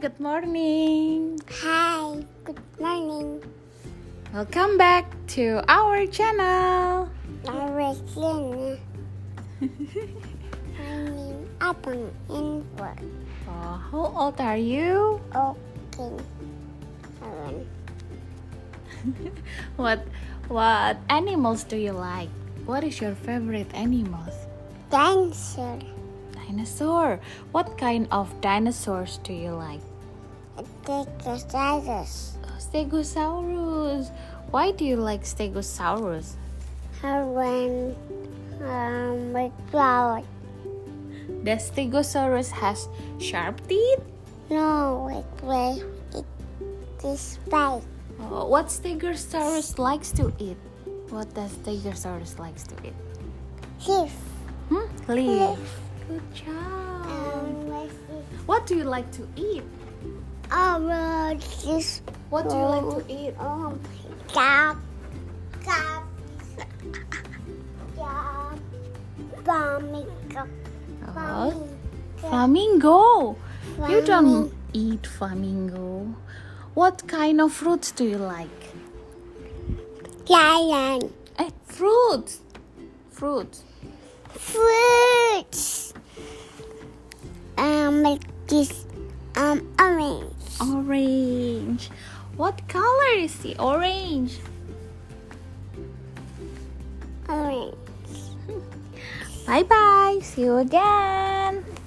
good morning. Hi, good morning. Welcome back to our channel. I was Lena. My name Abang and work. Oh, how old are you? Okay. Seven. What what animals do you like? What is your favorite animals? Dancer. Dinosaur. What kind of dinosaurs do you like? Exercises. Stegosaurus. Why do you like Stegosaurus? Her when um with flower. Does Stegosaurus has sharp teeth? No, it will it this bite. Oh, what Stegosaurus likes to eat? What does Stegosaurus likes to eat? Thief. Hmm? Leaf. Good job. Um what's this? What do you like to eat? Um uh, this What do you like to eat? um cap cap cap bummy cap Oh, flamingo. You don't eat flamingo. What kind of fruits do you like? lion Eh, fruits. Fruits. fruits um like this um orange Orange. What color is the orange? orange Bye bye. See you again.